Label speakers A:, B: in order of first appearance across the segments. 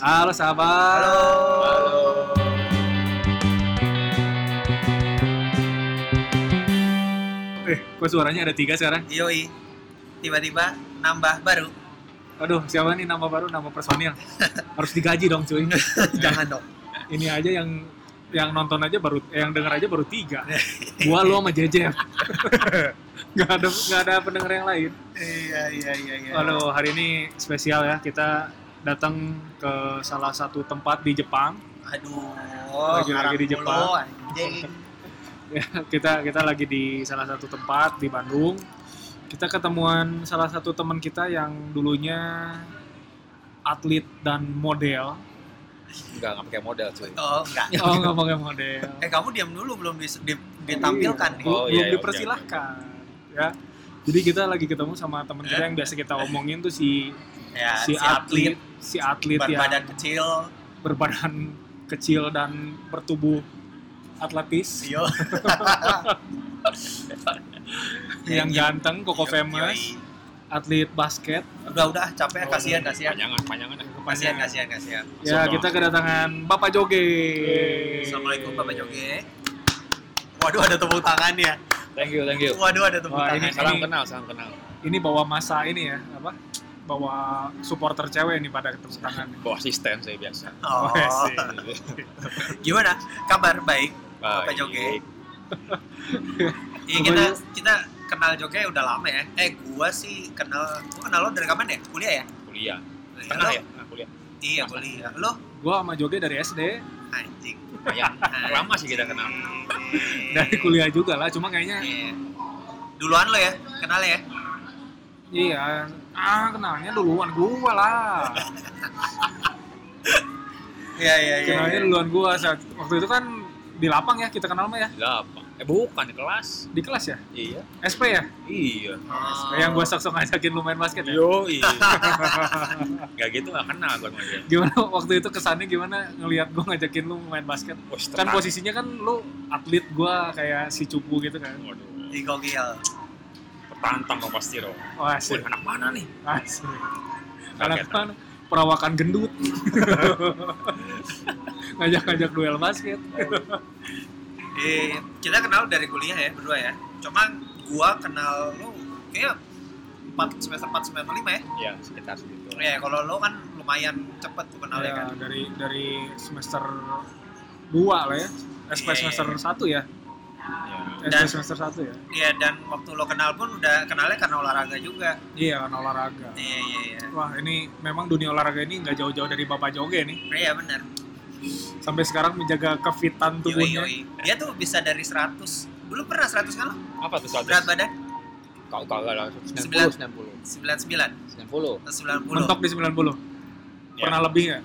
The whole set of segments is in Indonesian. A: Halo sahabat. Halo. Eh, kok suaranya ada tiga sekarang?
B: Yoi. Tiba-tiba nambah baru.
A: Aduh, siapa nih nama baru, nama personil? Harus digaji dong cuy.
B: Jangan dong.
A: Ini aja yang yang nonton aja baru, eh, yang denger aja baru tiga. Gua lo sama Jeje. gak ada nggak ada pendengar yang lain.
B: Iya, iya, iya, iya.
A: Halo, hari ini spesial ya kita datang ke salah satu tempat di Jepang.
B: Aduh.
A: Lagi-lagi
B: haram
A: di Jepang.
B: mulu, anjing.
A: Ya, kita kita lagi di salah satu tempat di Bandung. Kita ketemuan salah satu teman kita yang dulunya atlet dan model.
C: Enggak, enggak pakai modal cuy.
B: Oh, enggak.
A: Oh, nggak pakai model.
B: Eh, kamu diam dulu belum dis- di- ditampilkan
A: Iya,
B: nih.
A: belum-
C: Oh, iya,
A: belum
C: iya, oke,
A: dipersilahkan. Ya. Jadi kita lagi ketemu sama teman kita yang biasa kita omongin tuh si
B: Eh? Ya,
A: si, atlet, ya. si atlet
B: ban
A: yang
B: badan kecil.
A: berbadan kecil dan bertubuh atletis
B: Yo.
A: yang
B: Yo,
A: ganteng, koko
B: yo,
A: famous, Oh,
B: yoi.
A: atlet basket.
B: Udah, udah capek kasihan, kasihan.
C: Panjangan, panjangan.
B: Kasihan, kasihan, kasihan.
A: Ya,
C: Sombong.
A: kita kedatangan Bapak Joge.
B: Assalamualaikum Bapak Joge. Waduh ada tepuk tangannya.
C: Thank you, thank you.
B: Waduh ada tepuk ya.
A: Wah,
B: tangannya.
A: ini-
C: Salam kenal, salam kenal.
A: Ini bawa masa ini ya, apa? Bawa supporter cewek nih pada ketemu tangan.
C: Bawa asisten saya biasa.
B: Oh,
A: Wes.
B: gimana? Kabar baik.
C: Baik.
B: Joge? Iya kita kita kenal Joge udah lama ya. Eh gua sih kenal gua kenal lo dari kapan ya? Kuliah ya?
C: Kuliah.
B: Kuliah.
C: Pernah
B: Lo-
C: ya? Pernah kuliah.
B: Iya kuliah. Lo
A: Gua sama Joge dari SD,
B: anjing.
C: Lumayan. Lama sih kita kenal.
A: dari kuliah juga lah, cuma kayaknya
B: Iya. Duluan lo ya, kenal ya.
A: iya, ah kenalnya duluan gua lah.
B: Iya iya
A: Kenalnya duluan gua saat waktu itu kan di lapang ya kita kenal mah ya,
C: Berapa? Eh bukan kelas.
A: di kelas ya,
C: Iya.
A: SP ya,
C: Iya.
B: Oh, Ah.
A: yang gua sok-sok ngajakin lu main basket ya.
C: Yo, iya. Gak gitu gak kenal gua sama dia.
A: Gimana waktu itu kesannya gimana ngelihat gua ngajakin lu main basket?
C: Wes,
A: kan
C: tenang.
A: posisinya kan lu atlet gua kayak si cupu gitu kan
C: Waduh,
B: Di gokil.
C: Tertantang dong pasti dong.
A: wah Oh,
C: Wih,
A: asik
C: anak mana nih?
A: asik karena
B: ah.
C: Kaget.
A: kan perawakan gendut ngajak-ngajak duel basket
B: Eh, kita kenal dari kuliah ya berdua ya. Cuma gua kenal lo kayak 4 semester 4 semester 5 ya.
C: Ya, sekitar segitu.
B: Ya kalau lo kan lumayan cepet tuh kenalnya
A: ya,
B: kan.
A: dari dari semester 2 lah ya SP
B: Iya.
A: semester 1 ya SP
C: Ya.
B: Dan-
A: semester 1 ya
B: Iya dan waktu lo kenal pun udah kenalnya karena olahraga juga.
A: iya kan olahraga
B: Iya iya iya.
A: wah ini memang dunia olahraga ini nggak jauh-jauh dari Bapak Joge nih
B: Iya benar.
A: sampai sekarang menjaga kefitan
B: Yoi
A: tubuhnya
B: yoi. Dia tuh bisa dari 100. Dulu pernah 100 kan lo?
C: Apa tuh
B: Berat
C: sobat?
B: badan
C: Kau kagak lah.
B: Sembilan. 99
C: 90, 90. 90.
B: atau 90.
A: mentok di 90
C: Ya.
A: pernah lebih nggak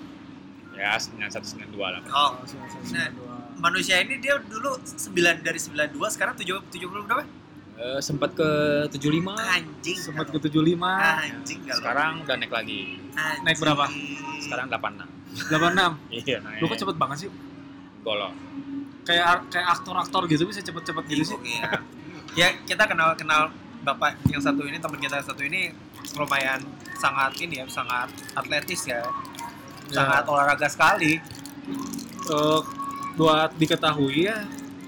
C: Ya, 91, 92 lah.
A: Oh,
B: Oh. Nah.
A: 99.
B: Manusia ini dia dulu 9 dari 92 sekarang 70 70 berapa?
C: Eh, sempat ke 75
A: Ah,
B: Anjing.
A: sempat ke
B: kalau.
A: 75
B: Anjing kalau.
C: sekarang udah naik lagi
B: Anjing.
A: naik berapa?
C: sekarang 86
A: 86
C: iya naik
A: lu kok cepet banget sih
C: golong
A: kayak kayak aktor-aktor gitu bisa cepet-cepet gitu sih
B: Iya. ya kita kenal kenal bapak yang satu ini teman kita yang satu ini lumayan sangat ini ya sangat atletis ya sangat olahraga sekali
A: Eh, buat diketahui ya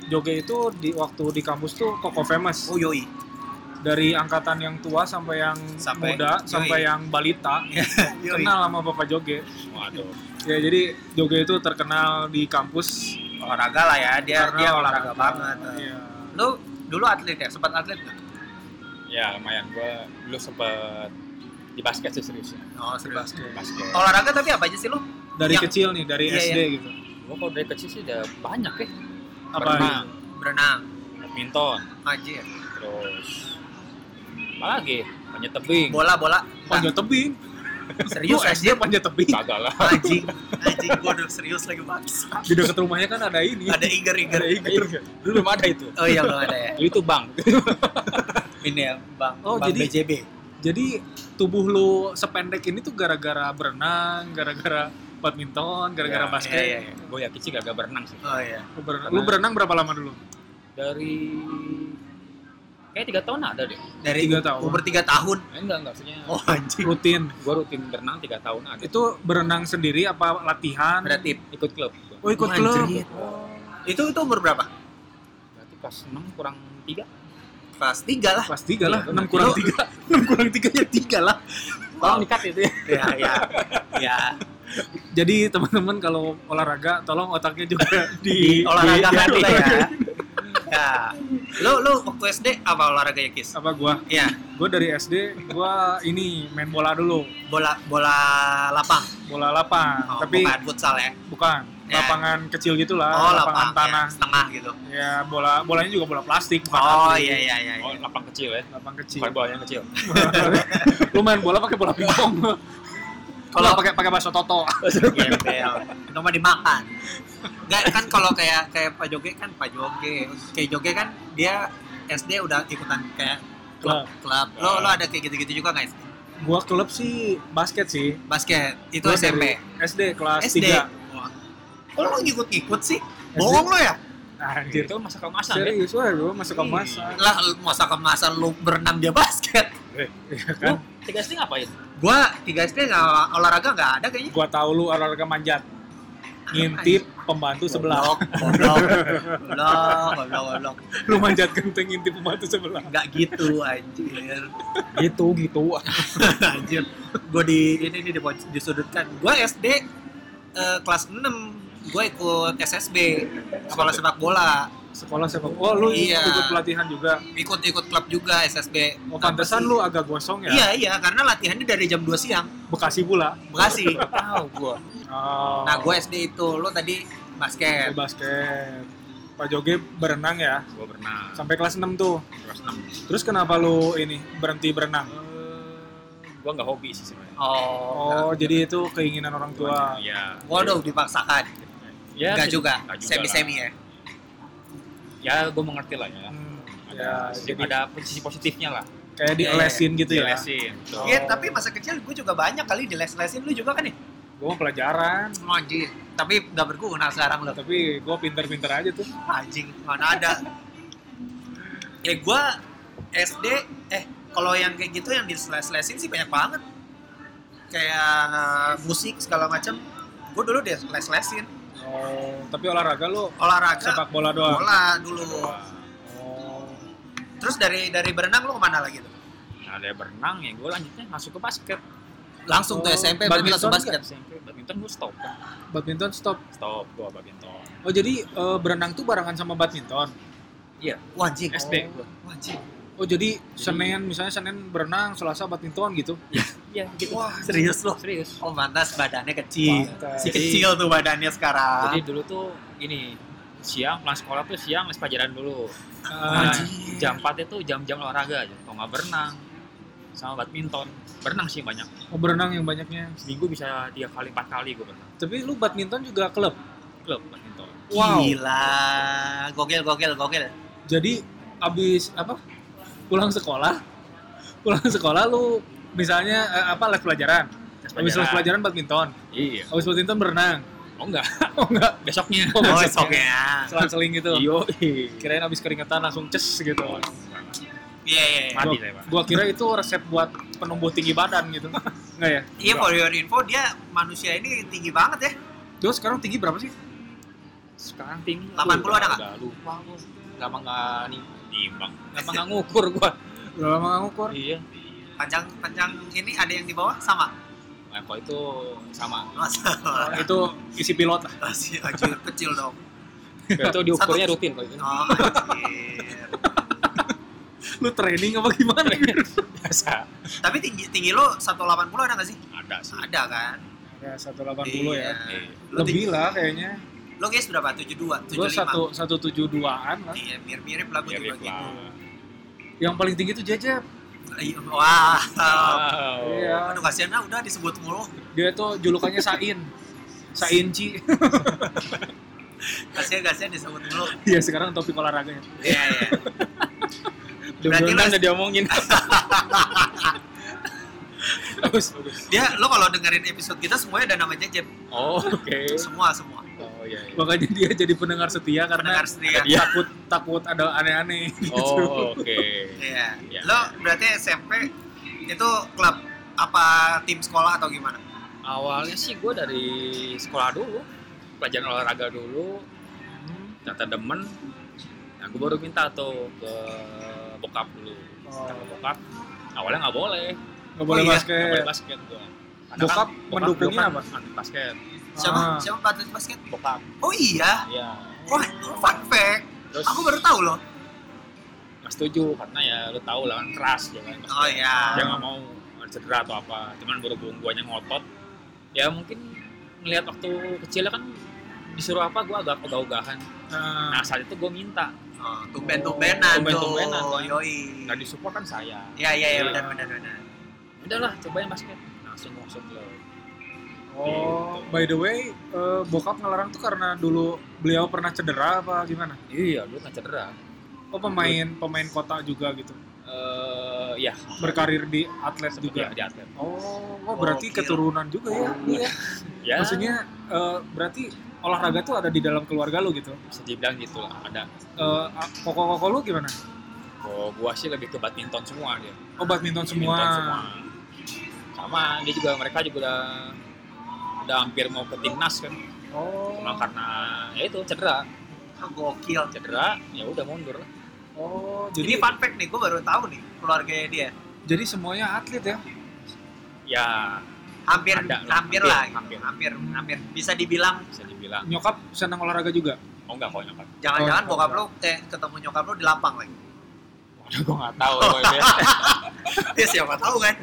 A: Joge itu di waktu di kampus tuh koko famous
B: oh yoi
A: dari angkatan yang tua sampai yang
B: Sampai-
A: muda
B: yoi.
A: sampai yang balita
B: yoi
A: kenal sama bapak Joge
C: waduh
A: ya jadi Joge itu terkenal di kampus
B: olahraga lah ya dia
A: karena
B: dia olahraga, banget
A: Iya.
B: lu dulu atlet ya sempat atlet nggak
C: ya lumayan gua dulu sempet di basket sih serius ya.
B: oh
A: Di
B: serius
A: basket.
C: basket
B: olahraga tapi apa aja sih lu
A: dari
B: Yang-
A: kecil nih dari
B: Iya,
A: SD gitu
C: gua kalau dari kecil sih udah banyak ya
A: apa
C: Berenang.
B: berenang ya.
C: badminton
B: aja
C: terus apa lagi panjat tebing
B: bola bola Nggak,
A: panjat tebing
B: serius
A: Lu
B: SD
A: panjat tebing
C: kagak lah
B: anjing anjing gua udah serius lagi bangsa
A: di dekat rumahnya kan ada ini
B: Iya. ada iger iger
A: ada iger
C: dulu belum ada itu
B: oh iya belum ada ya
C: itu bang
B: ini ya bang
A: Oh,
B: bang
A: jadi-
B: BJB
A: Jadi tubuh lu sependek ini tuh gara-gara berenang, gara-gara badminton, gara-gara
C: Ya,
A: basket.
B: Iya, iya, iya.
C: gua ya kecil kagak berenang sih
B: oh iya
A: Lu berenang, lu berenang berapa lama dulu?
C: dari kayak tiga tahun ada deh
B: Dari
A: Tiga tahun.
B: umur 3 tahun.
C: Eh, enggak enggak maksudnya
B: Oh anjing.
A: rutin
C: gue rutin berenang tiga tahun ada
A: itu berenang sendiri apa latihan
B: Berarti
C: ikut klub gua.
A: oh ikut
B: Anjir.
A: klub
B: itu itu umur berapa?
C: berarti pas enam kurang tiga
B: Kelas 3 lah.
A: kelas tiga lah
C: Iya,
A: enam
C: benar.
A: kurang
B: Itu-
A: tiga enam kurang tiga ya tiga lah
C: tolong dikat itu ya
B: ya ya. Ya,
A: jadi teman-teman kalau olahraga tolong otaknya juga di,
B: di olahraga
A: di-
B: kan
A: di-
B: lah ya. Ya. Lu lu waktu SD apa olahraga ya, Kis?
A: apa gua
B: Iya,
A: gua dari SD gua ini main bola dulu
B: bola bola lapang.
A: bola lapang
B: Oh,
A: tapi
B: bukan futsal ya.
A: bukan
B: Ya.
A: lapangan kecil gitulah
B: Oh,
A: lapangan
B: lapang,
A: tanah
B: Ya, setengah gitu.
A: ya bola bolanya juga bola plastik bukan
B: Oh
A: atlet.
B: iya iya iya.
C: oh lapang kecil ya
A: lapang kecil
C: bukan bolanya kecil
A: lu main bola pakai bola pingpong kalau
B: Kalau
A: pakai pakai bakso toto
B: gembel, itu mah dimakan. Enggak kan kalau kayak kayak Pak Joge kan Pak Joge. Kayak Joge kan dia SD udah ikutan kayak klub klub. Lo lo ada kayak gitu-gitu juga guys.
A: gua klub sih basket sih
B: Basket itu
A: Gua
B: SMP.
A: dari SD kelas
B: SD.
A: 3
B: Wah. Kok lo ngikut-ngikut sih? Bohong lo ya?
A: Ah, anjir
C: itu masa kemasan ya
A: serius wah gua masuk ke masa
B: Lah masa kemasan lo berenang dia basket.
A: Iya kan
C: ya? lu tiga SD ngapain
B: Gua 3 SD nggak olahraga nggak ada kayaknya.
A: gua tahu lu olahraga manjat ngintip pembantu sebelah
B: Goblok, goblok, goblok, goblok, goblok.
A: lu manjat genteng ngintip pembantu sebelah
B: Nggak gitu anjir.
C: gitu gitu
B: Anjir, gue di ini nih dipo- disudutkan. Gue SD eh, kelas 6 gue ikut SSB sekolah sepak bola
A: sekolah sepak oh lu
B: Iya.
A: ikut pelatihan juga
B: ikut ikut klub juga SSB
A: oh pantesan lu agak gosong ya
B: iya iya karena latihannya dari jam 2 siang
A: Bekasi pula
B: Bekasi tahu gue
A: oh.
B: nah gue SD itu lo tadi
A: Gua
B: basket
A: basket Pak Joge berenang ya
C: gue berenang
A: sampai kelas 6 tuh
C: kelas enam
A: terus kenapa lu ini berhenti berenang
C: gue nggak hobi sih sebenarnya
B: oh,
A: oh jadi itu keinginan orang tua
C: ya
B: waduh dipaksakan
C: ya
B: enggak
C: se-
B: juga
C: nggak juga
B: semi semi ya
C: ya gue mengerti lah ya
A: Hmm,
C: ada
A: ya
C: sisi-
A: jadi
C: ada sisi positifnya lah
A: kayak dielesin gitu ya
C: Dilesin.
A: Oh.
B: Iya, tapi masa kecil gue juga banyak kali diles-lesin lu juga kan ya
A: gue mau pelajaran
B: Oh, anjir tapi nggak berguna sekarang lo
A: tapi gue pinter-pinter aja tuh
B: anjing mana ada ya gua SD eh kalau yang kayak gitu yang diseles-selesin sih banyak banget kayak eh, musik segala macam gua dulu dia les-lesin
A: oh tapi olahraga lu
B: olahraga
A: sepak bola doang
B: bola dulu
A: oh
B: terus dari dari berenang lu kemana lagi tuh
C: nah ada berenang ya gue lanjutnya masuk ke basket
B: langsung tuh
A: Oh,
B: SMP berarti langsung
A: badminton
B: basket
C: SMP badminton gue stop
A: badminton stop
C: stop gue badminton
A: oh jadi eh, berenang tuh barengan sama badminton
B: Wah, anjing
C: SD gue
B: Wah, anjing
A: oh jadi senin misalnya senin berenang selasa badminton gitu
C: iya gitu
B: wah serius lo
C: serius
B: oh mantas badannya kecil
A: Pantes.
B: si kecil tuh badannya sekarang
C: jadi dulu tuh ini siang pulang sekolah tuh siang les pelajaran dulu
A: Ah,
C: Nah, jam 4 itu jam-jam olahraga aja kalau nggak berenang sama badminton berenang sih banyak
A: oh, berenang yang banyaknya
C: seminggu bisa tiga kali empat kali gue berenang
A: tapi lu badminton juga klub
C: klub badminton
A: wow
B: gila gokil gokil gokil
A: jadi abis apa pulang sekolah pulang sekolah lu misalnya eh, apa les pelajaran
C: Les
A: abis les pelajaran badminton
C: iya
A: abis badminton berenang
C: oh enggak
A: oh enggak
C: besoknya
A: Oh,
B: oh
A: besoknya.
B: soknya
A: selang-seling gitu
C: iyo
A: kirain abis keringetan langsung ces gitu
B: Iya, iya. iya.
C: Oh, mati saya pak
A: gua kira itu resep buat penumbuh tinggi badan gitu enggak ya
B: Iya, for your info, dia manusia ini tinggi banget ya.
A: terus sekarang tinggi berapa sih
C: sekarang tinggi
B: 80 ada nggak?
C: nggak lupa gue gampang nggak nih timbang gampang nggak ngukur gue
A: berapa lama ngukur
C: iya
B: Panjang panjang ini ada yang di bawah sama.
C: nah, kalau itu sama
B: Masa
A: Nah, itu isi pilot lah
B: masih anjir kecil dong.
C: Iya, itu diukurnya rutin kalau gitu. itu
B: Oh, anjir.
A: lu training apa gimana
C: Iya. biasa
B: Tapi tinggi tinggi lo 180 ada nggak sih?
C: ada sih
B: Ada kan?
A: ya 180 ya
C: Iya.
B: Lo, tinggi,
A: lebih lah kayaknya
B: lo guys berapa? 72, 75.
A: gua satu satu tujuh duaan lah
B: Iya, mirip-mirip lah gue juga
C: mirip
B: gitu.
C: lah
A: yang paling tinggi tuh jajab
B: Iya, Wah.
C: Wow.
A: Iya.
B: Aduh kasihan lah udah disebut mulu.
A: Dia tuh julukannya Sain. Sainci.
B: Kasihan kasihan disebut mulu.
A: Iya sekarang topik olahraganya.
B: Iya, iya. Berarti
C: Berarti
B: lo-
C: udah diomongin.
A: Bagus.
B: Dia lo kalau dengerin episode kita semuanya ada nama Jejep.
C: Oh, oke.
A: Iya.
B: Semua semua.
C: Oh, Oh iya. iya.
A: Makanya dia jadi pendengar setia karena
B: Pendengar setia.
C: Iya.
A: takut takut ada aneh-aneh gitu.
C: Oh oke.
B: Iya.
C: Iya.
B: Lo berarti SMP itu klub apa tim sekolah atau gimana?
C: Awalnya sih gue dari sekolah dulu, pelajaran olahraga dulu, ternyata demen. Nah gue baru minta tuh ke bokap dulu.
A: Oh.
C: Sama bokap. Awalnya nggak boleh,
A: Nggak boleh
B: Oh, iya.
C: nggak
A: basket.
C: boleh basket kan gue.
A: Bokap mendukungnya apa?
C: Anti basket.
A: Ah.
B: Siapa? Siapa pelatih basket?
C: Bokap.
B: Oh iya.
C: Iya.
B: Wah, fun fact.
C: Terus
B: Aku baru tahu loh.
C: nggak setuju karena ya lu tahu lah kan keras ya kan.
B: Oh iya.
C: dia nggak mau cedera atau apa cuman berhubung guanya ngotot ya mungkin ngelihat waktu kecilnya kan disuruh apa gua agak ogah-ogahan
A: Nah,
C: nah saat itu gua minta
B: Oh, tumben-tumbenan tuh.
C: Tumben-tumbenan, tuh.
B: Yoi.
C: nggak disupport kan saya
B: Iya, iya, iya,
C: Iya.
B: benar benar benar.
C: udahlah cobain basket langsung masuk ke
A: Oh, by the way, eh, bokap ngelarang tuh karena dulu beliau pernah cedera apa gimana?
C: iya lu kan cedera
A: Oh, pemain pemain kota juga gitu.
C: eh iya
A: Berkarir di atlet
C: juga
A: juga.
C: di atlet
A: Oh, oh, berarti
B: Gokil.
A: keturunan juga ya. Iya.
C: ya
A: Maksudnya eh, berarti olahraga tuh ada di dalam keluarga lu gitu.
C: bisa dibilang gitu lah ada
A: Eh, a- Koko-koko lu gimana?
C: oh, gua sih lebih ke badminton semua dia
A: Oh, badminton semua.
C: Badminton semua sama dia juga mereka juga udah udah hampir mau ke timnas kan
A: Oh.
C: cuma karena ya itu cedera
B: Oh, gokil.
C: cedera ya udah mundur lah
A: Oh,
B: Jadi
A: jadi
B: fun fact nih, gue baru tahu nih keluarganya dia.
A: jadi semuanya atlet ya.
C: ya
B: Hampir
C: Ada lah,
B: hampir
C: hampir,
B: lah,
C: hampir.
B: hampir, hampir, hampir. Bisa dibilang
C: bisa dibilang
A: Nyokap senang olahraga juga.
C: oh enggak kok nyokap
B: jangan-jangan
A: Oh,
B: bokap lu eh ketemu nyokap lu di lapang lagi.
C: waduh gue nggak tahu gue ya
B: Ya siapa tahu kan.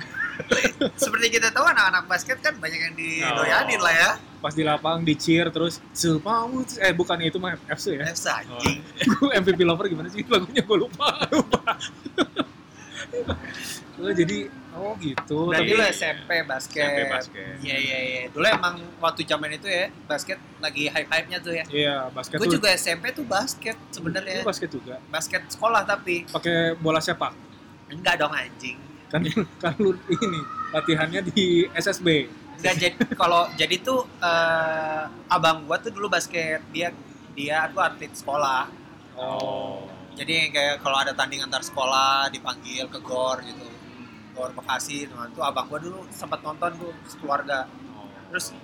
B: Seperti kita tahu anak-anak basket kan banyak yang didoyanin lah ya.
A: Pas di lapang di cheer terus Zupau. Eh, bukan itu mah FC ya.
B: Nefsa anjing.
A: Gua MVP Lover gimana sih lagunya gue lupa lupa Oh, jadi oh gitu
B: Berarti
A: tapi
B: lu SMP basket.
C: SMP basket
B: Iya iya iya. Dulu emang waktu zaman itu ya basket lagi hype-hype-nya tuh ya.
A: iya basket
B: Gue
A: tuh-
B: juga ya. SMP tuh basket
A: lu
B: sebenarnya.
A: basket juga
B: Basket sekolah tapi
A: pakai bola sepak
B: enggak dong anjing.
A: kan kan lu ini latihannya di SSB
B: Enggak jadi kalau jadi tuh eh, abang gua tuh dulu basket dia dia tuh atlet sekolah.
C: oh
B: Jadi kayak kalau ada tanding antar sekolah dipanggil ke gor gitu. Gor Bekasi teman tuh abang gua dulu sempat nonton tuh sekeluarga.
C: Oh.
B: Terus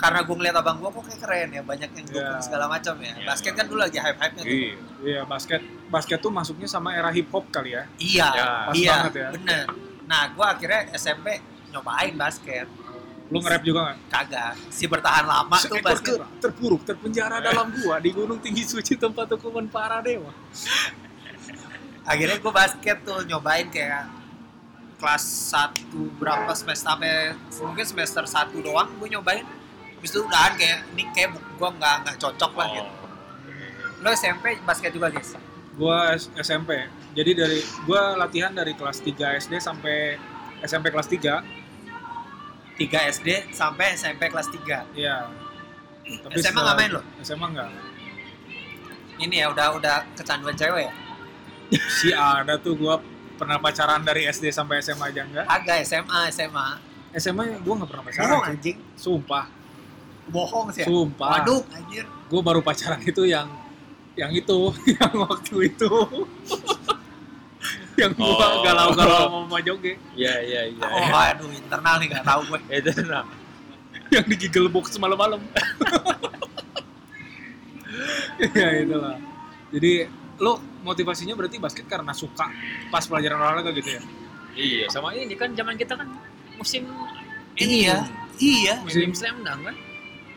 B: karena gue ngeliat abang gua kok kayak keren ya banyak yang dukung
A: Iya.
B: segala macam ya.
C: Iya,
B: basket
C: iya.
B: kan dulu lagi hype-hype-nya tuh.
C: iya
A: iya basket basket tuh masuknya sama era hip hop kali ya
B: Iya.
C: Ya,
A: pas
B: iya,
A: banget ya
B: bener. Nah, gue akhirnya SMP nyobain basket.
A: lu nge-rap juga nggak
B: Kagak. Si bertahan lama tuh
A: Seekor
B: basket.
A: kera terpuruk terpenjara dalam gua di gunung tinggi suci tempat hukuman para dewa
B: Akhirnya gue basket tuh nyobain kayak kelas 1 berapa semester apa ya, mungkin semester 1 doang gue nyobain habis itu udahan kayak ini kayak gue nggak nggak cocok lah
A: Oh.
B: gitu lo
C: Oh.
B: SMP basket juga guys
A: gua S- SMP jadi dari gua latihan dari kelas 3 SD sampai SMP kelas 3
B: 3 SD sampai SMP kelas 3
A: iya
B: SMA nggak main lo
A: SMA nggak
B: ini ya udah udah kecanduan cewek ya
A: si ada tuh gua pernah pacaran dari SD sampai SMA aja enggak
B: agak SMA SMA
A: SMA gua nggak pernah pacaran
B: bohong
A: cuy.
B: anjing
A: sumpah
B: bohong sih ya.
A: sumpah
B: kan?
A: Ya,
B: waduh anjir
A: gua baru pacaran itu yang yang itu yang waktu itu yang gua
C: Oh.
A: galau-galau sama Mama Joge
C: iya iya iya
B: Oh,
A: ya.
B: aduh internal nih nggak tahu gue.
C: itu nah
A: yang digigil box malam-malam. ya itulah. Jadi lo motivasinya berarti basket karena suka pas pelajaran olahraga gitu ya?
C: iya sama ini kan zaman kita kan musim
B: Iya, iya.
C: musim slam dunk kan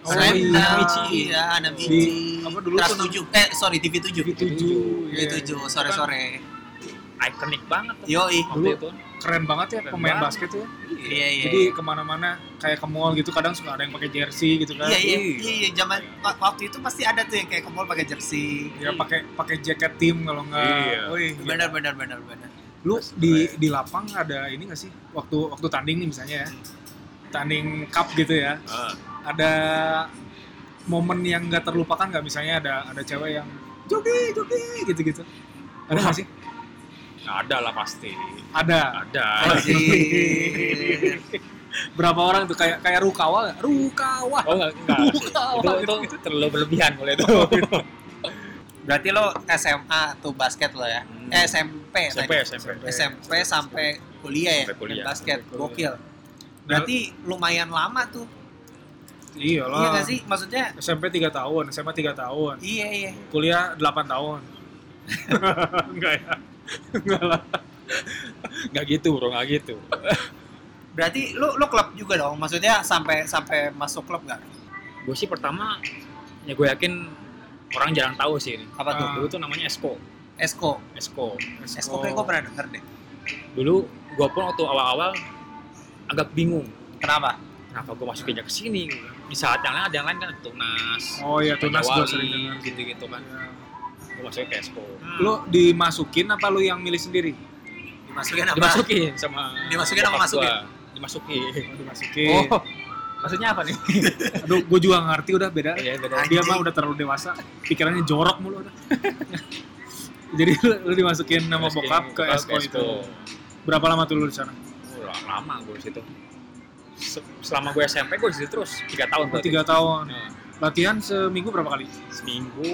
A: Oh,
B: Slam
A: iya.
B: dunk, iya, Anam
C: Di-
B: Ichi.
A: apa dulu
B: Trans
A: tuh,
B: 7, eh sorry TV 7.
A: TV7.
C: Iya,
A: Iya,
B: TV 7 sore-sore.
C: ikonik banget tuh
B: Yoi.
C: waktu itu
A: Keren banget ya
C: Keren
A: pemain
C: banget.
A: basket tuh. ya.
B: Iya, iya.
A: Jadi kemana-mana kayak ke mall gitu kadang suka ada yang pakai jersey gitu kan.
B: Iya, iya, iya, iya, zaman wa- waktu itu pasti ada tuh yang kayak ke mall pakai jersey.
A: Ya pakai pakai jaket tim kalau nggak.
C: Iya.
A: Wih, gitu.
B: Hmm. Benar, benar, benar, benar.
A: Lu di di lapang ada ini nggak sih waktu waktu tanding nih misalnya ya.
B: Hmm.
A: Tanding cup gitu ya.
C: Ah.
A: ada momen yang nggak terlupakan nggak misalnya ada ada cewek yang joki joki gitu gitu ada nggak sih
C: Nah, ada lah pasti
A: ada
C: ada
B: Anjir.
A: berapa orang tuh kayak kayak rukawa nggak? rukawa
C: Oh enggak, enggak. sih. itu, itu terlalu berlebihan mulai itu.
B: Berarti lo SMA tuh basket lo ya?
C: Hmm.
B: Eh, SMP.
C: SMP,
B: tadi.
C: SMP.
B: SMP sampai kuliah ya?
C: Sampai kuliah.
B: main basket,
A: Sampai kuliah.
B: gokil. Berarti lumayan lama tuh.
A: iyalah
B: Iya gak sih? Maksudnya,
A: SMP 3 tahun SMA 3 tahun
B: iya iya.
A: kuliah 8 tahun enggak ya enggak lah
C: Enggak gitu, bro, enggak gitu.
B: Berarti lo lo klub juga dong? Maksudnya sampai sampai masuk klub gak?
C: Gue sih pertama ya gue yakin orang jarang tahu sih ini.
B: Apa tuh?
A: Ah.
C: Dulu tuh namanya Esko,
B: Esko.
C: Esko.
B: Esko kayak
A: Oh,
B: gue pernah denger deh.
C: Dulu gue pun waktu awal-awal agak bingung
B: Kenapa?
C: kenapa gue masukinnya ke sini di saat yang lain ada yang lain kan tunas
A: oh iya tunas gue sering dengar
C: gitu gitu kan
A: Iya.
C: gue masukin ke Esko
A: lu dimasukin apa lu yang milih sendiri
B: dimasukin apa?
C: dimasukin sama
B: Dimasukin apa
C: bokap
B: masukin?
C: gua. dimasukin
A: Oh, dimasukin
C: oh maksudnya apa nih
A: aduh gue juga nggak ngerti udah beda
C: Iya, beda.
A: dia mah udah terlalu dewasa pikirannya jorok mulu udah jadi lu, lu dimasukin nama
C: Dimasukin
A: bokap ke Esko itu berapa lama tuh lu di sana
C: Wah, lama gue di situ Se- selama gue SMP gue di situ terus tiga tahun
A: Oh,
C: berarti.
A: tiga tahun
C: Nah,
A: latihan seminggu berapa kali
C: seminggu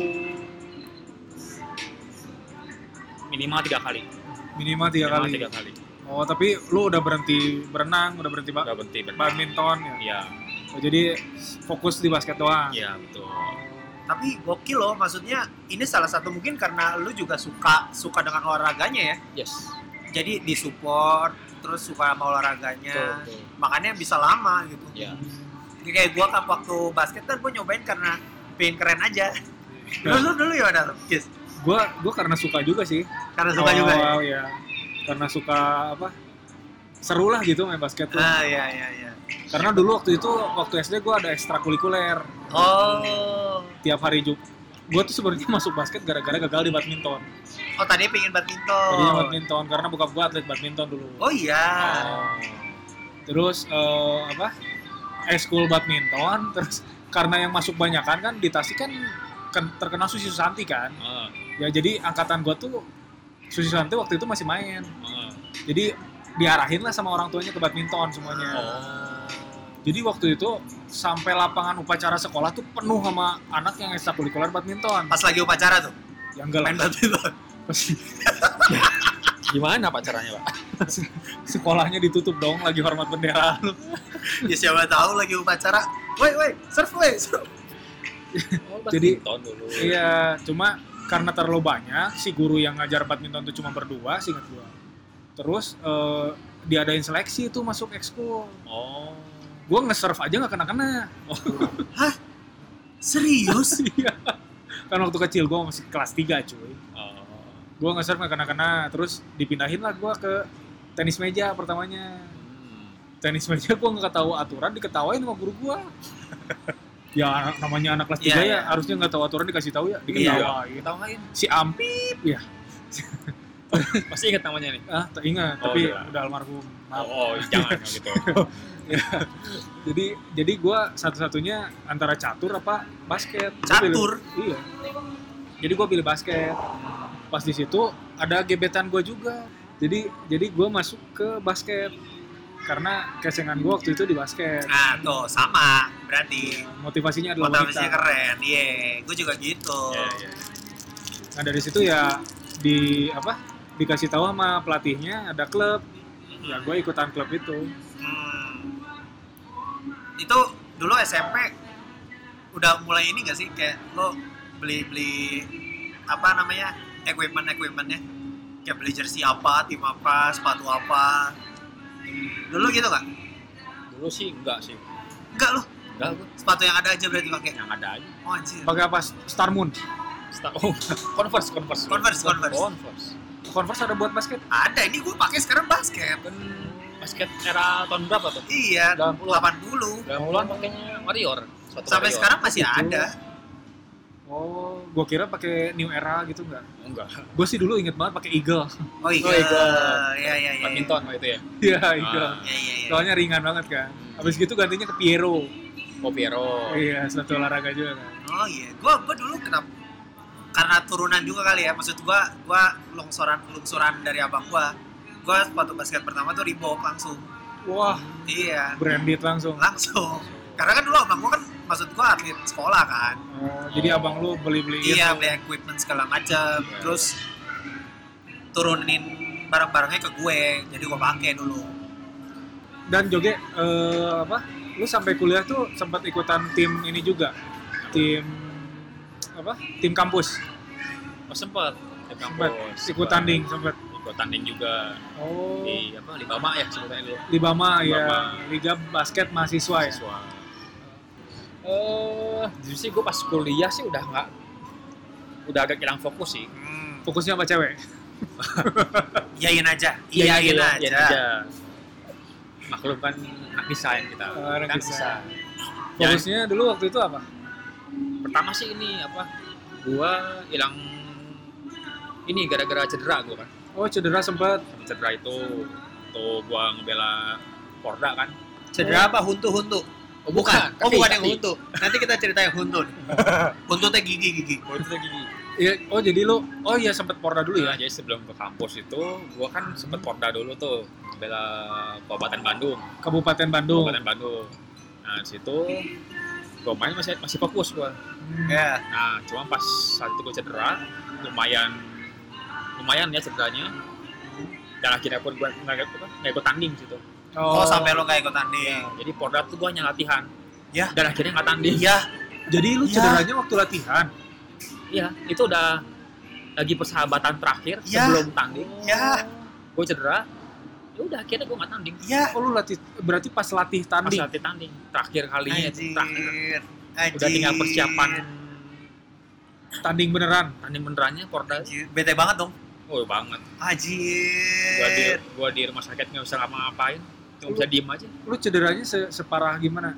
C: minimal tiga kali
A: minimal tiga
C: minimal
A: kali
C: tiga kali
A: oh tapi lu udah berhenti berenang udah berhenti ba-
C: udah berhenti benar
A: badminton ya
C: iya
A: Oh, jadi fokus di basket doang
C: iya betul
B: Tapi gokil loh, maksudnya ini salah satu mungkin karena lu juga suka suka dengan olahraganya ya.
C: yes
B: Jadi disupport, terus suka sama olahraganya.
C: betul, betul.
B: makanya bisa lama gitu.
C: Iya.
B: Jadi kayak gua kan waktu basket kan gua nyobain karena pengen keren aja. Dulu dulu ya ada Yes.
A: gue gue karena suka juga sih
B: Karena suka juga ya.
A: Awal-awal ya karena suka apa seru lah gitu main basket tuh
B: Ah iya iya iya.
A: karena dulu waktu itu waktu SD gue ada ekstrakurikuler
B: Oh.
A: tiap hari juga gue tuh sebenarnya masuk basket gara-gara gagal di badminton
B: Oh tadi pengen
A: tadinya
B: badminton.
A: badminton karena bokap gue atlet badminton dulu
B: Oh iya.
A: Oh. terus eh, apa ekskul badminton terus karena yang masuk banyakan kan di Tasik kan ken- terkenal Susi Susanti kan
C: Ah,
A: ya jadi angkatan gue tuh Susi Susanti waktu itu masih main
C: ah.
A: jadi diarahin lah sama orang tuanya ke badminton semuanya jadi waktu itu sampai lapangan upacara sekolah tuh penuh sama anak yang ekstrakurikuler badminton
B: Pas lagi upacara tuh
A: yang enggak lah
B: main badminton.
A: pasti
C: gimana pak caranya pak
A: sekolahnya ditutup dong lagi hormat bendera
B: ya siapa tahu lagi upacara. Woi woi, serve woi. serve.
A: Jadi-
C: tahun dulu
A: iya cuma karena terlalu banyak si guru yang ngajar badminton tuh cuma berdua singkat gua terus eh, diadain seleksi tuh masuk ekskul
C: oh
A: gua nge-serve aja nggak kena-kena
B: Serius?
A: Iya. kan waktu kecil gua masih kelas 3 cuy
C: oh
A: gua nge-serve nggak kena-kena terus dipindahin lah gua ke tenis meja pertamanya
C: Hmm.
A: tenis meja gua nggak tahu aturan diketawain sama guru gua ya anak- namanya anak kelas 3
B: Iya,
A: ya
B: iya.
A: harusnya nggak tahu aturan dikasih tahu ya
B: Iya.
A: diketawain
B: Tahu nggak ini?
A: si Ampip ya
C: masih ingat namanya nih
A: ah tak ingat
C: Oh,
A: tapi
C: iya.
A: udah almarhum maaf
C: oh, oh, jangan gitu
A: Iya. jadi jadi gua satu-satunya antara catur apa basket Gua
B: Catur?
A: pilih- iya jadi gua pilih basket pas di situ ada gebetan gua juga jadi jadi gua masuk ke basket karena kesengan gua waktu itu di basket
B: Nah tuh sama berarti
A: motivasinya adalah
B: motivasinya
A: wanita
B: keren. Iya, gua juga gitu.
C: Iya, iya.
A: nah dari situ ya di apa dikasih tahu sama pelatihnya ada klub ya gua ikutan klub itu
B: Hmm. Itu dulu SMP udah mulai ini gak sih kayak lo beli beli apa namanya equipment equipmentnya kayak beli jersey apa tim apa sepatu apa dulu gitu nggak
C: dulu sih enggak sih
B: enggak lo
C: enggak gue
B: sepatu yang ada aja berarti pakai
C: yang ada aja
B: oh anjir
A: pakai apa Star Moon
C: Star- oh, converse converse
B: Converse, Converse.
C: converse
A: Converse ada buat basket
B: ada ini gue pakai sekarang basket
C: kan basket era tahun berapa tuh
B: iya
C: 80-an
B: 80
C: 80-an pakainya warrior sepatu
B: sampai
C: warrior.
B: sekarang masih
C: Iya.
A: Gitu.
B: ada
A: oh gua kira pakai New Era gitu enggak
C: enggak
A: gue sih dulu inget banget pakai Eagle
B: oh iya
C: Oh, iya.
B: iya iya iya
C: badminton waktu itu ya
A: iya Eagle
B: iya iya iya.
A: soalnya ringan banget kan abis gitu gantinya ke Piero
C: oh Piero
A: iya satu olahraga juga kan
B: Oh iya, gua gua dulu kenapa? Karena turunan juga kali ya, maksud gua gua longsoran longsoran dari abang gua. Gua sepatu basket pertama tuh Reebok langsung.
A: Wah,
B: iya
A: branded langsung.
B: langsung karena kan dulu abang gua kan maksud gua atlet sekolah kan
A: Oh, jadi abang lu beli-beliin.
B: iya beli equipment segala macam
C: Iya.
B: terus turunin barang-barangnya ke gue jadi gua pakai dulu
A: Dan Joge, eh, apa? Lu sampai kuliah tuh sempat ikutan tim ini juga. Tim apa? Tim kampus.
C: oh sempet ke
A: Sempat
C: kampus
A: ikut tanding sempat.
C: ikut tanding juga
A: Oh.
C: di apa di Bama ya sebutnya dulu
A: Libama ya,
C: Libama.
A: Liga Basket Mahasiswa ya.
C: siswa eh justru sih gue pas kuliah sih udah nggak udah agak hilang fokus sih
B: hmm.
A: Fokusnya apa cewek?
B: iyain aja iyain aja,
C: Iya, iyain aja. maklum kan anak desain kita
A: Oh, anak
C: kan
A: desain.
C: desain.
A: Fokusnya dulu waktu itu apa?
C: pertama sih ini apa gua hilang ini gara-gara cedera gua kan
A: Oh, cedera sempat.
C: Sama cedera itu tuh gua ngebela Porda kan
B: cedera apa huntu-huntu
C: oh
B: oh
C: kaki,
B: bukan yang
C: kaki.
B: huntu nanti kita ceritain huntu nih huntu teh gigi gigi
C: Oh, itu tuh gigi
A: Iya, oh jadi lu oh iya sempat Porda dulu
C: Iya,
A: ya.
C: jadi sebelum ke kampus itu gua kan sempet Porda dulu tuh bela Kabupaten Bandung
A: Kabupaten Bandung.
C: Kabupaten Bandung nah di situ gua main masih masih fokus gua
A: Hmm.
B: ya
C: Nah, cuma pas saat itu gue cedera, lumayan lumayan ya cederanya. Dan akhirnya pun gue nggak ikut- nggak ikut tanding gitu.
B: oh, sampai lo kayak ikut tanding
C: Jadi Porda tuh gue hanya latihan.
B: Ya.
C: Dan akhirnya nggak tanding.
B: iya
A: Jadi lu
B: Iya.
A: cederanya waktu latihan.
C: Iya, itu udah lagi persahabatan terakhir
B: Ya.
C: sebelum tanding. Iya.
B: Ya.
C: Gue cedera, ya udah akhirnya gue nggak tanding.
B: iya
A: Oh, lu latih berarti pas latih
C: Pas
A: tanding.
C: latih tanding, terakhir kalinya Iya, itu
B: anjir
C: terakhir.
B: anjir
C: Udah tinggal persiapan
A: Tanding beneran.
C: tanding benerannya Porda.
B: Anjir, bete banget dong
C: Oh banget. Gue di,
B: anjir
C: gua di rumah sakit nggak bisa ngapa-ngapain. Cuma bisa diem aja.
A: Lu cederanya se- separah gimana?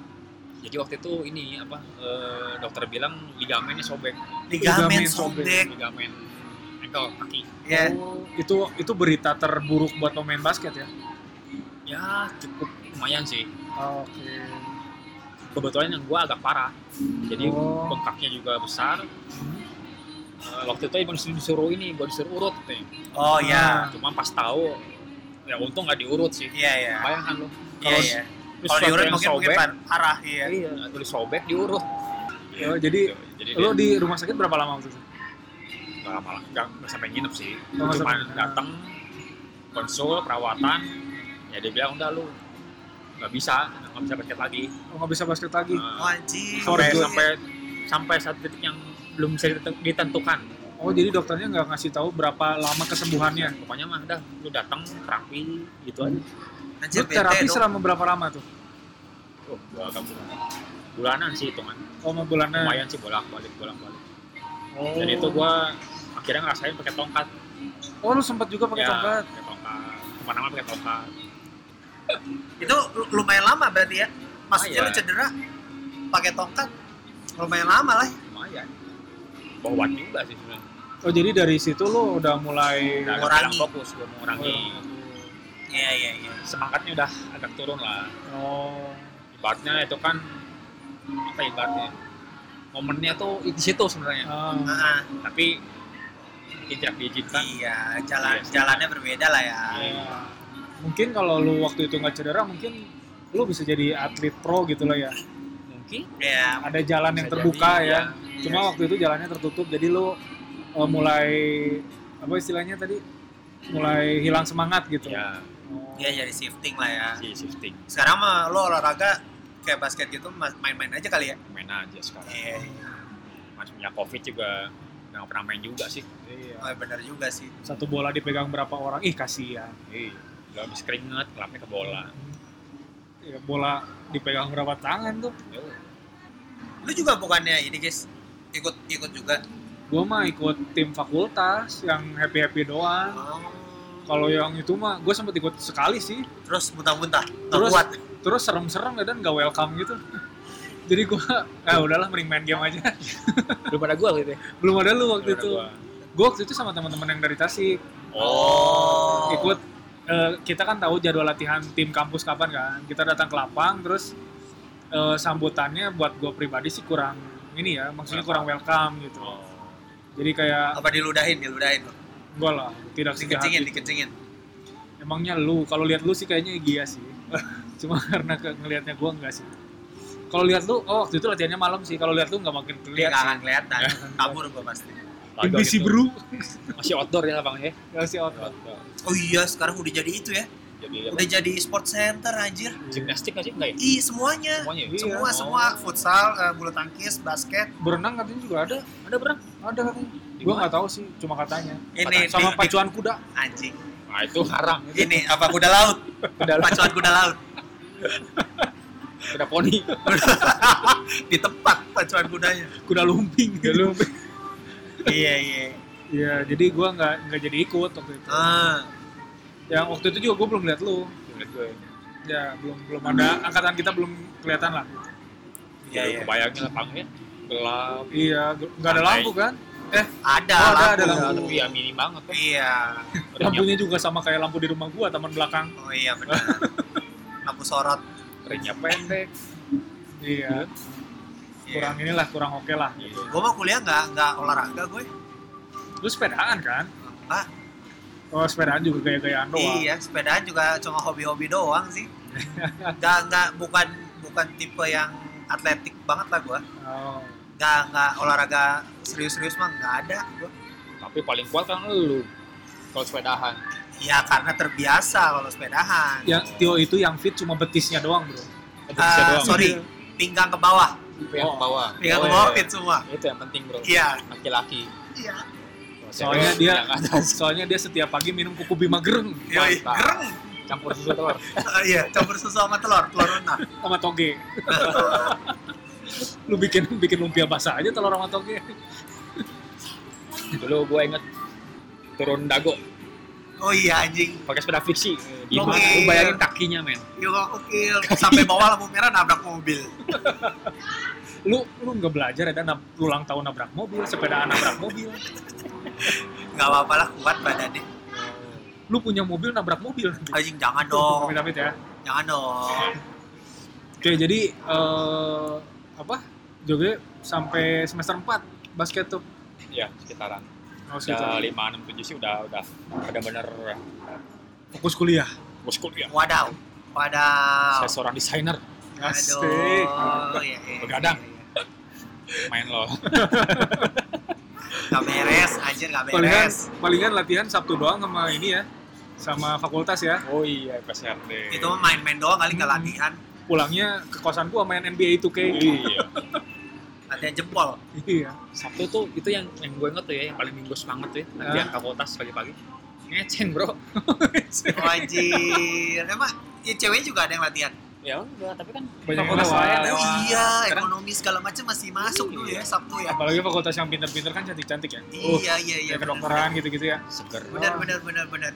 C: Jadi waktu itu ini apa eh, dokter bilang ligamennya sobek,
A: Ligamen
B: ligamen
A: sobek.
B: sobek
C: ligamen ankle kaki.
B: ya
A: Oh, itu itu berita terburuk buat pemain basket ya.
C: Ya cukup lumayan sih.
A: Oke.
C: Kebetulan yang gua agak parah. Jadi
A: Oh.
C: bengkaknya juga besar. Eh, waktu itu emang disuruh, disuruh ini, gua disuruh urut nih.
B: oh ya
C: Cuma pas tahu ya untung nggak diurut sih.
B: iya iya
C: Bayangkan lu.
B: iya
C: Kalau-
B: iya
C: lu
B: kalau
C: sesuatu
B: diurut
C: yang
B: mungkin mungkin par- parah iya
C: Iya, tulis sobek diurut.
A: Oh, jadi
C: gitu. jadi
A: Lu
C: dia-
A: di rumah sakit berapa lama waktu itu?
C: nggak lama lah nggak nggak sampai nginep sih
A: Nggak
C: Gua cuma
A: sampai nginep.
C: datang konsul perawatan ya dia bilang udah lu nggak bisa nggak bisa basket lagi
A: Oh, nggak bisa basket lagi.
B: Oh,
C: Nah,
B: anjir
C: sampai
A: Gila.
C: sampai sampai satu titik yang belum bisa diten- ditentukan
A: Oh, jadi dokternya nggak ngasih tahu berapa lama kesembuhannya.
C: pokoknya mah udah lu datang terapi gitu aja
A: Lu
B: anjir bete
A: terapi
B: dong.
A: selama berapa lama tuh?
C: oh, gua agak bulan bulanan sih hitungan
A: Oh, mau bulanan.
C: lumayan sih bolak balik bolak balik
A: Oh.
C: dan itu gua akhirnya ngerasain pakai tongkat
A: Oh, lu sempat juga pakai
C: Ya,
A: tongkat.
C: pakai tongkat kemana-mana pakai tongkat
B: itu lu- lumayan lama berarti ya maksudnya
C: Lumayan.
B: lu cedera pakai tongkat lumayan lama lah
C: lumayan bawa juga sih sebenarnya
A: Oh, jadi dari situ lu udah mulai
C: Udah
B: Mengurangi.
C: hilang fokus gue mengurangi
B: iya iya iya
C: semangatnya udah agak turun lah
A: Oh.
C: ibaratnya itu kan apa ibaratnya momennya tuh di situ sebenarnya
A: Ah.
B: Ah,
C: tapi mungkin tidak diizinkan
B: iya jalan
C: Iya.
B: jalannya berbeda lah ya
A: Iya. Mungkin kalau lu waktu itu nggak cedera, mungkin lu bisa jadi atlet pro gitu loh ya.
C: mungkin
B: iya
A: Ada jalan yang
C: bisa
A: terbuka
C: jadi, iya.
A: ya. Cuma waktu itu jalannya tertutup, jadi lu eh, mulai apa istilahnya tadi? Mulai hilang semangat gitu.
C: ya
A: Oh.
B: iya jadi shifting lah ya
C: si shifting
B: sekarang mah lu olahraga kayak basket gitu ma- main-main aja kali ya
C: main aja sekarang
B: iya
C: masih punya covid juga nggak pernah main juga sih
A: Iya.
B: oh, benar juga sih
A: Satu bola dipegang berapa orang? Ih, kasihan.
C: iya udah habis keringet kelapnya ke bola
A: Ya, bola dipegang berapa tangan tuh?
C: Yo,
B: lu juga bukannya ini guys ikut ikut juga
A: Gua mah ikut tim fakultas yang happy-happy doang.
B: oh.
A: Kalau yang itu mah gue sempet ikut sekali sih.
B: terus muntah-muntah nggak
A: Terus?
B: kuat
A: Terus serem-serem ya dan gak welcome gitu. Jadi gua eh udahlah mending main game aja.
C: belum pada gua gitu ya
A: Belum ada lu waktu
C: Belum ada
A: itu.
C: gua.
A: Gue waktu itu sama teman-teman yang dari Tasik
B: oh
A: ikut eh, kita kan tahu jadwal latihan tim kampus kapan kan. Kita datang ke lapang terus eh, sambutannya buat gue pribadi sih kurang ini ya, maksudnya kurang welcome gitu.
C: oh
A: Jadi kayak
B: apa diludahin diludahin lu
A: enggak lah, tidak sejahat
B: dikencingin
C: ya?
A: itu.
B: dikencingin
A: Emangnya lu kalau lihat lu sih kayaknya iya sih. cuma karena ke, ngelihatnya gua enggak sih kalau lihat lu oh waktu itu latihannya malam sih kalau lihat lu nggak makin
B: Dia
A: kelihatan
B: nggak akan kelihatan. Kabur gue pasti.
C: Laga
A: Invisi
C: gitu.
A: Brew
C: Masih outdoor ya Bang ya.
A: nggak sih otot
C: Outdoor.
B: Oh iya, sekarang udah jadi itu ya.
C: Jadi apa?
B: Udah jadi sport center anjir.
C: gimnastik nggak sih enggak ya?
B: Ih, semuanya.
C: Semuanya. ya?
A: Iya.
B: Semua,
C: Oh.
B: semua. Futsal, eh, bulu tangkis, basket.
A: berenang katanya juga ada
C: Ada berang.
A: ada katanya
C: Di
A: gua
C: mana?
A: nggak tahu sih cuma katanya
B: Ini,
A: sama
B: ini-
A: pacuan kuda
B: Anjing.
C: Nah, itu haram.
B: Ini apa kuda laut?
A: Kuda laut.
B: Pacuan kuda laut.
C: Ada poni.
B: Iya, Di tempat pacuan kudanya.
A: kuda lumping kuda lumping
B: iya, iya.
A: Iya, jadi gua nggak nggak jadi ikut waktu itu.
B: Ah,
A: Yang waktu itu juga gua belum lihat lu.
C: Ingat gue.
A: Ya, belum belum ada angkatan kita belum kelihatan lah.
B: iya, iya.
C: Kebayangnya lapangnya ya. gelap.
A: Iya, gel- nggak ada
C: Santai.
A: lampu kan? Eh,
B: Ada,
A: Oh, ada, ada
B: lampu.
A: lampu.
C: Tapi ya minim banget kan.
B: Iya.
C: Renyah,
A: lampunya juga sama kayak lampu di rumah gua, taman belakang.
B: Oh iya benar. Lampu sorot.
C: renyah pendek.
A: Iya, kurang
B: Iya.
A: inilah, kurang oke lah.
C: Gitu.
B: Gue mau Iya. kuliah nggak nggak olahraga gue.
A: Lu sepedaan kan?
B: Ah,
A: Oh, sepedaan juga gaya-gayaan doang.
B: Iya, sepedaan juga cuma hobi-hobi doang sih. Nggak nggak bukan bukan tipe yang atletik banget lah gua.
A: Oh.
B: Nggak nggak olahraga serius-serius mah nggak ada gua.
C: Tapi paling kuat kan lu. Kalau sepedahan.
B: Ya karena terbiasa kalau sepedahan.
C: Ya,
A: Yang Ya, Tio itu yang fit cuma betisnya doang, Bro.
C: Itu
B: Ah,
C: bisa doang.
B: sorry, pinggang ke bawah,
C: Itu yang ke bawah.
B: pinggang
C: Oh,
B: ke bawah
C: iya.
B: fit semua.
C: Itu yang penting bro.
B: Iya,
C: Laki-laki.
B: iya.
A: Soalnya dia
C: Yang ada
A: soalnya dia setiap pagi minum kuku Bima Gereng
B: Yoi,
C: Mantap.
B: gereng.
C: campur susu telur.
B: Ah, iya, campur susu sama telur, telur renang.
A: sama toge. Lu bikin bikin lumpia basah aja telur sama toge.
C: Dulu gue inget turun dago
B: Oh iya anjing,
C: pakai sepeda fiksi.
B: Oke.
C: Gimana? Iya, Lu bayangin kakinya men.
B: yuk ukil sampai bawah lampu merah nabrak mobil.
A: Lu lu nggak belajar ya dan nab- ulang tahun nabrak mobil, sepedaan nabrak mobil.
B: Nggak apa-apa lah kuat badannya.
A: Lu punya mobil nabrak mobil.
B: Anjing jangan
A: Tuh,
B: Iya dong,
A: Amit-amit ya.
B: jangan dong.
A: Oke, jadi eh, apa? Joge sampai semester 4 basket tuh.
C: Ya sekitaran.
A: Oh, gitu.
C: Udah lima enam tujuh sih udah udah udah bener
A: Fokus kuliah.
C: muskul ya.
B: Wadaw. Wadaw.
C: Saya seorang desainer
A: Asik.
B: Aduh, iya, iya,
C: Begadang.
B: iya,
C: main lo.
B: iya. Gak beres, anjir gak
A: Palingan
B: beres.
A: palingan latihan Sabtu doang sama ini ya. Sama fakultas ya.
C: Oh iya PSRD.
B: Itu mah main-main doang kali gak latihan.
A: Pulangnya ke kosan gua main NBA 2K.
C: Iya.
B: Latihan jempol.
A: Iya.
C: Sabtu tuh itu yang yang gue inget tuh ya yang paling minggu semangat tuh ya. Nanti
A: Ah.
C: angka kotas pagi-pagi. Ngeceng bro.
B: Oh, anjir. Emang ya cewek juga ada yang latihan.
C: Ya enggak tapi kan
A: Banyak yang
C: fakultas
A: lewat.
C: lain
B: Oh
C: lewat.
B: iya,
C: Sekarang-
B: ekonomi segala macam masih masuk dulu ya
C: Iya.
B: Sabtu ya.
A: Apalagi fakultas yang pinter-pinter kan cantik-cantik ya. Uh,
B: Iya, iya, iya.
A: ya kedokteran gitu-gitu ya.
C: Seger.
B: Benar, benar, benar, benar.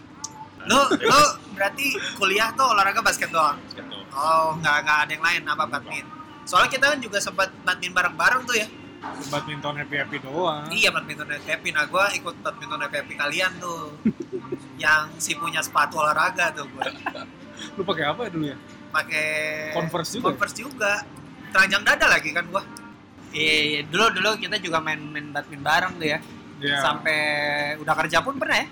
B: Lu, lu berarti kuliah tuh olahraga basket doang?
C: Gitu.
B: Oh, nggak nggak ada yang lain apa badminton? Soalnya kita kan juga sempat badminton bareng-bareng tuh ya.
A: Badminton happy-happy doang.
B: Iya badminton FFP. Nah gue ikut badminton FFP kalian tuh. yang si punya sepatu olahraga tuh gue. Iya.
A: Lu pakai apa ya dulu ya?
B: Pakai
A: Converse juga ya?
B: Converse juga. Teranjang dada lagi kan gue. Iya, iya. dulu dulu kita juga main-main badminton bareng tuh ya.
A: Iya.
B: Sampai udah kerja pun pernah ya.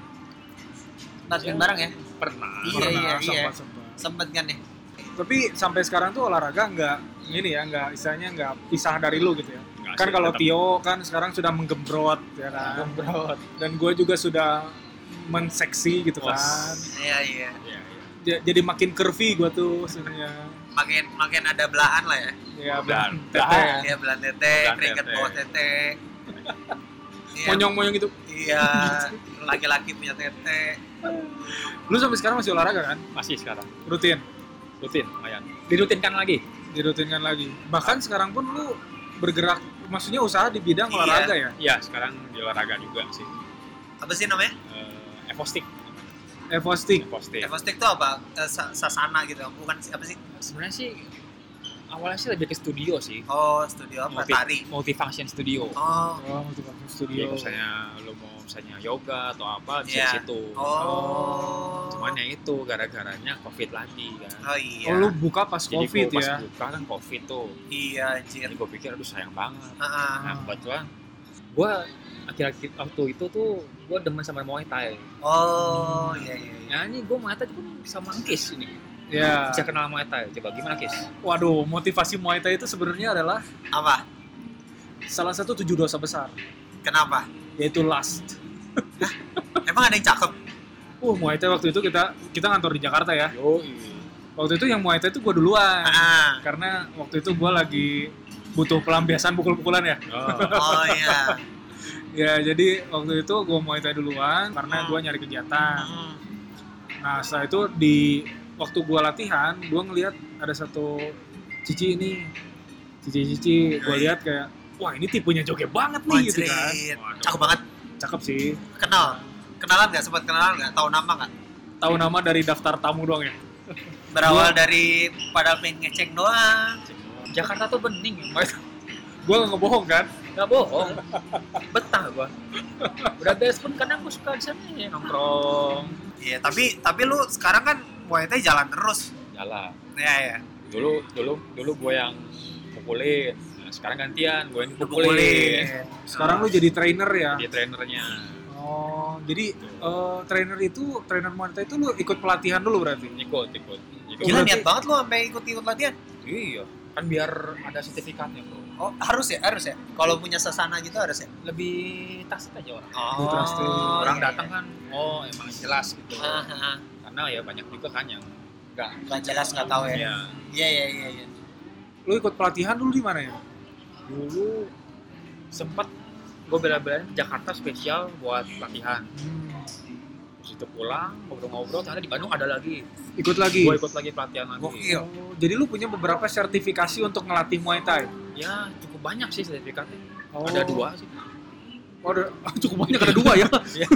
B: Badminton bareng ya.
C: Pernah.
B: Iya,
A: Iya. Pernah,
B: iya, iya.
A: sempat-sempat.
B: Sempet kan ya.
A: tapi sampai sekarang tuh olahraga nggak ini ya nggak istilahnya nggak pisah dari lu gitu ya
C: Nggak
A: kan
C: sih,
A: kalau
C: tetap. Nah,
A: Tio kan sekarang sudah menggembrot ya kan
C: Gembrot.
A: dan gue juga sudah menseksi gitu kan
B: Iya
C: Wos.
B: iya.
C: Iya, iya.
A: Ja- jadi makin curvy gue tuh sebenarnya
B: Makin makin ada belahan lah ya.
A: ya
C: Dan-
A: belan- tete
B: Iya belahan tete,
C: Belahan
B: keringet
C: tete.
B: bawah tete. Iya.
A: monyong monyong gitu
B: Iya, laki-laki punya tete.
A: lu sampai sekarang masih olahraga kan
C: Masih sekarang.
A: rutin
C: Rutin, lumayan. Dirutinkan lagi.
A: dirutinkan lagi bahkan sekarang pun lu bergerak maksudnya usaha di bidang
B: Iya.
A: olahraga ya
C: Iya, sekarang di olahraga juga sih.
B: Apa sih namanya?
C: Eh, Evo Stick.
A: Evo Stick
C: Evo Stick.
B: Evostick tuh apa? Eh, sa- Sasana gitu. Bukan sih, apa sih?
C: Sebenarnya sih awalnya sih lebih ke studio sih.
B: Oh, studio apa?
C: Multi-
B: Tari.
C: Multifunction studio.
B: Oh.
A: oh, untuk
C: Jadi
A: studio
C: Iya, misalnya lu mau misalnya yoga atau apa
B: Iya.
C: bisa di situ.
B: Oh.
C: Cuman ya itu gara-garanya covid lagi kan.
B: Oh iya.
A: oh lu buka pas
C: Jadi
A: covid
C: gua pas
A: ya
C: buka kan covid tuh.
B: Iya, Hmm. anjir.
C: Jadi gue pikir aduh sayang banget.
B: Heeh.
C: Nah kebetulan gue akhir-akhir waktu itu tuh gue demen sama Muay Thai.
B: Oh, iya iya. iya.
C: Nah ini gue Muay Thai pun bisa mangkis ini.
A: Ya.
C: Bisa kenal Muay Thai. Coba gimana, Kis?
A: Waduh, motivasi Muay Thai itu sebenarnya adalah
B: Apa?
A: salah satu tujuh dosa besar,
B: Kenapa?
A: yaitu lust.
B: Emang ada yang cakep?
A: Uh, Muay Thai waktu itu kita kita ngantor di Jakarta ya.
C: Yo,
A: Waktu itu yang Muay Thai itu gue duluan.
B: Ah,
A: Karena waktu itu gue lagi butuh pelampiasan pukul-pukulan ya.
B: oh iya.
A: Ya, jadi waktu itu gue Muay Thai duluan karena gue nyari kegiatan.
B: Hmm.
A: Nah, setelah itu di waktu gue latihan, gue ngelihat ada satu cici ini. Cici-cici, gue lihat kayak, wah ini tipenya joget banget nih gitu kan.
B: Wajrit. Hmm. Cakep banget.
A: Cakep sih.
B: Kenal. Kenalan nggak? Sempat kenalan nggak? Tahu nama nggak?
A: Tahu nama dari daftar tamu doang ya.
B: Berawal dari pada pengen ngeceng doang.
C: Jakarta tuh bening, Muay Thai.
A: Gue nggak ngebohong kan?
C: Nggak bohong. Betah gua. Udah beres pun kadang gua suka di sana ya, nongkrong.
B: Iya, tapi tapi lu sekarang kan Muay Thai jalan terus.
C: Jalan.
B: Iya, iya.
C: Dulu dulu dulu gua yang pukulin. Nah, sekarang gantian, gua yang
B: Lu
C: pukulin.
B: pukulin.
A: Sekarang lu jadi trainer ya.
C: Dia trainernya.
A: Oh, jadi eh, trainer itu, trainer Muay Thai itu lu ikut pelatihan dulu berarti?
C: Ikut, ikut. ikut.
B: Gila
A: Berarti-
B: niat banget lu sampai ikut-ikut latihan.
C: Iya, kan biar ada sertifikatnya, Bro.
B: Oh, harus ya, harus ya. Kalau punya sasana gitu harus ya.
C: Lebih tasik aja orang.
B: Oh,
A: trusting.
C: Orang
B: iya,
C: datang
B: iya.
C: kan, oh emang jelas gitu.
B: Ah, ah, ah.
C: Karena ya banyak juga kan yang enggak.
B: Nggak jelas nggak tahu ya.
C: Iya.
B: Iya, iya, iya, iya.
A: Lu ikut pelatihan dulu di mana ya?
C: Dulu sempet gue bela-belain ke Jakarta spesial buat latihan.
A: Hmm,
C: Terus itu pulang, ngobrol-ngobrol, ternyata di Bandung ada lagi.
A: Ikut lagi?
C: Gue ikut lagi pelatihan lagi.
B: Gokil.
A: Oh, jadi lu punya beberapa sertifikasi untuk ngelatih Muay Thai?
C: Ya, cukup banyak sih sertifikatnya.
A: Oh.
C: Ada dua sih.
A: Oh, ada, cukup banyak ada dua ya?
C: Iya.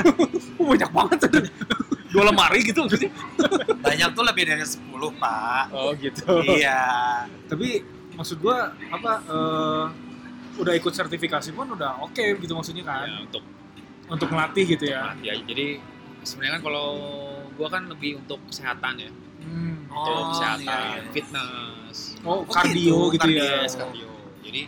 A: Oh, banyak banget ada. Dua lemari gitu maksudnya.
B: Banyak tuh lebih dari 10, Pak.
C: Oh gitu.
B: Iya.
A: Tapi maksud gua apa eh, udah ikut sertifikasi pun udah oke gitu maksudnya kan
C: Ya, untuk
B: Iya.
A: untuk melatih gitu ya.
C: ya jadi sebenarnya kan kalau gua kan lebih untuk kesehatan ya.
A: Hmm.
B: Oh,
C: Untuk kesehatan,
B: iya, iya.
C: fitness,
A: Oh,
B: Oh,
A: kardio
B: gitu,
A: gitu,
B: kardio.
A: ya.
C: yes, cardio. Jadi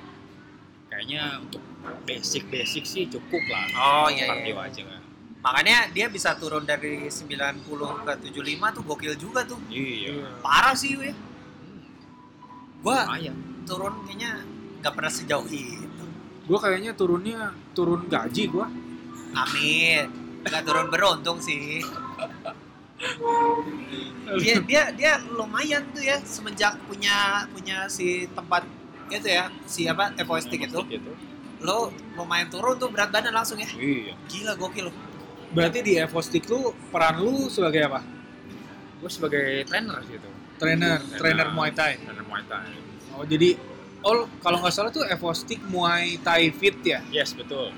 C: kayaknya untuk basic-basic sih cukup lah.
B: Oh, iya, iya.
C: Cardio aja kan.
B: Makanya dia bisa turun dari 90 ke 75 tuh gokil juga tuh.
C: Iya.
B: Parah sih ya. Gua
C: Lumayan.
B: turun kayaknya nggak pernah sejauh itu.
A: Gua kayaknya turunnya turun gaji gua.
B: Amin. Nggak turun beruntung sih. Dia dia dia lumayan tuh ya semenjak punya punya si tempat itu ya si apa epoistik itu
C: Gitu.
B: lo lumayan turun tuh berat badan langsung ya
C: Iya.
B: gila gokil
A: Berarti di Evo Stick lu peran lu sebagai apa?
C: Gue sebagai trainer gitu.
A: Trainer, trainer Muay Thai.
C: Trainer Muay Thai.
A: Oh, jadi oh kalau nggak salah tuh Evo Stick Muay Thai Fit ya.
C: Yes, betul.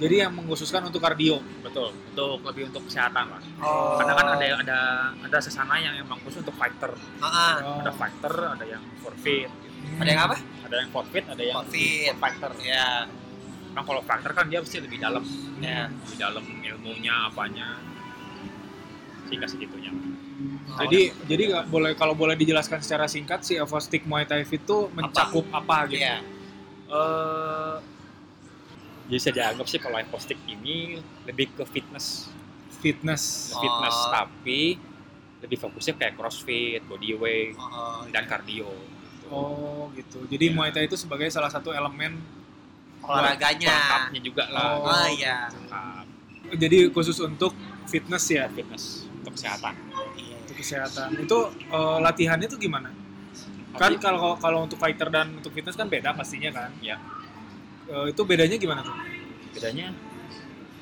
A: Jadi yang mengkhususkan untuk kardio.
C: Betul. Untuk lebih untuk kesehatan lah.
B: oh.
C: Karena kan ada ada ada sesana yang emang khusus untuk fighter.
B: Ah, ah.
A: Oh.
C: Ada fighter, ada yang forfeit,
B: ada yang apa
C: ada yang forfeit, ada yang
B: Covid
C: fighter.
B: ya
C: Kan kalau fighter kan dia pasti lebih dalam,
B: ya
C: lebih dalam ilmunya apanya. Sehingga segitunya.
A: Jadi jadi nggak boleh kalau boleh dijelaskan secara singkat si Evo Stick Muay Thai Fit itu mencakup apa,
C: Iya.
A: gitu?
B: ya
C: eh bisa dianggap sih kalau Epostik ini lebih ke fitness,
A: Fitness.
B: Oh.
C: fitness tapi lebih fokusnya kayak crossfit, bodyweight,
B: oh,
C: dan cardio.
A: Oh gitu. Jadi
C: Ya.
A: Muay Thai itu sebagai salah satu elemen.
B: olahraganya
C: Lengkapnya juga lah, Ah,
A: Oh.
B: oh iya
C: lengkap
A: Jadi khusus untuk fitness ya,
C: fitness untuk kesehatan.
B: Iya.
A: untuk kesehatan. Itu eh, latihannya tuh gimana? Kan
C: Tapi
A: kalau kalau untuk fighter dan untuk fitness kan beda pastinya kan.
C: Ya.
A: Eh, itu bedanya gimana tuh?
C: bedanya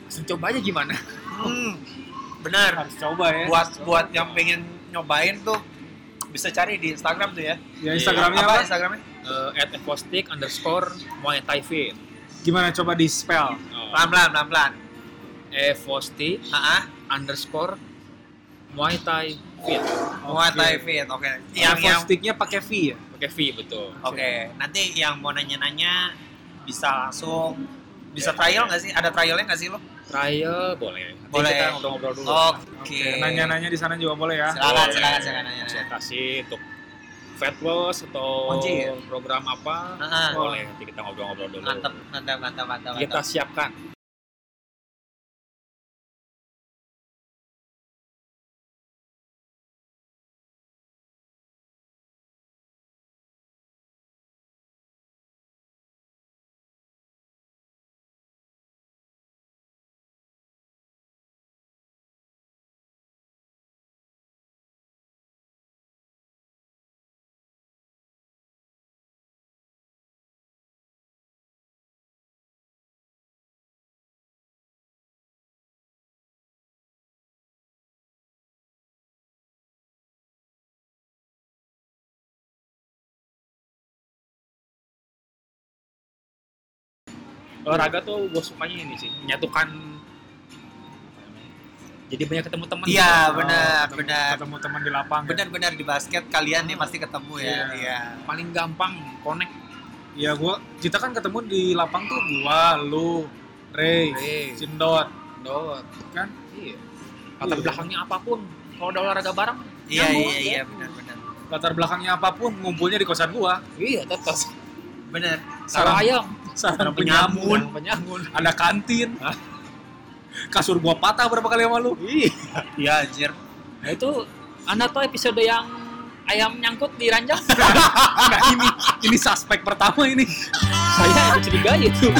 C: langsung
B: ya.
C: coba aja gimana?
B: hmm, benar
A: Harus coba ya.
B: buat buat yang pengen nyobain tuh bisa cari di Instagram tuh ya.
A: Ya Instagramnya apa?
B: Instagramnya?
C: Eh, At Epostik underscore Muay Thai Fit.
A: Gimana coba di spell?
C: Oh.
B: Pelan pelan pelan pelan.
C: Epostik
B: Ah, ah.
C: Eh, underscore Muay Thai Fit.
B: Muay Thai Fit. Oke. Yang yang Oke.
A: sticknya pakai V ya.
C: Pakai V betul.
B: Nanti yang mau nanya nanya bisa langsung
A: Ya.
B: bisa trial nggak sih? Ada trialnya nggak sih lo?
C: Trial boleh. Nanti
B: Boleh.
C: kita ngobrol-ngobrol dulu.
B: Oke.
A: Oke. Nanya-nanya di sana juga boleh ya.
B: Silakan
C: Boleh.
B: silakan silakan nanya.
C: Konsultasi untuk fat loss atau
B: Kunci ya?
C: program apa?
B: Ah,
C: Boleh. Nanti kita ngobrol-ngobrol dulu.
B: mantap mantap mantap mantap.
C: Kita
B: mantap.
C: siapkan. olahraga tuh gue sukanya ini sih menyatukan jadi banyak ketemu teman
B: Iya,
C: gitu.
B: benar,
A: ketemu-
B: benar.
A: Eh, Ketemu teman di ya? lapangan.
B: benar-benar di basket kalian nih pasti ketemu ya
A: Iya.
B: iya
C: paling gampang connect
A: Iya gua kita kan ketemu di lapang tuh gua, lu, Ray,
B: Iya.
C: Ray.
A: Cindot.
C: dot
A: Kan?
C: iya latar
A: Iya.
C: belakangnya apapun kalau udah olahraga bareng
B: iya
C: nyambung
A: ya?
B: iya
C: aja.
B: iya benar-benar
A: Latar belakangnya apapun ngumpulnya di kosan gua.
C: iya tetes
B: benar
C: sarang ayam
A: Sarang
B: penyamun.
A: penyamun,
C: sarang penyangun
A: ada kantin. Kasur gua patah berapa kali sama lu?
C: iya
B: iya anjir
C: nah itu anda tuh episode yang ayam nyangkut di ranjang
A: Nah, ini ini suspek pertama ini.
C: saya yang curiga itu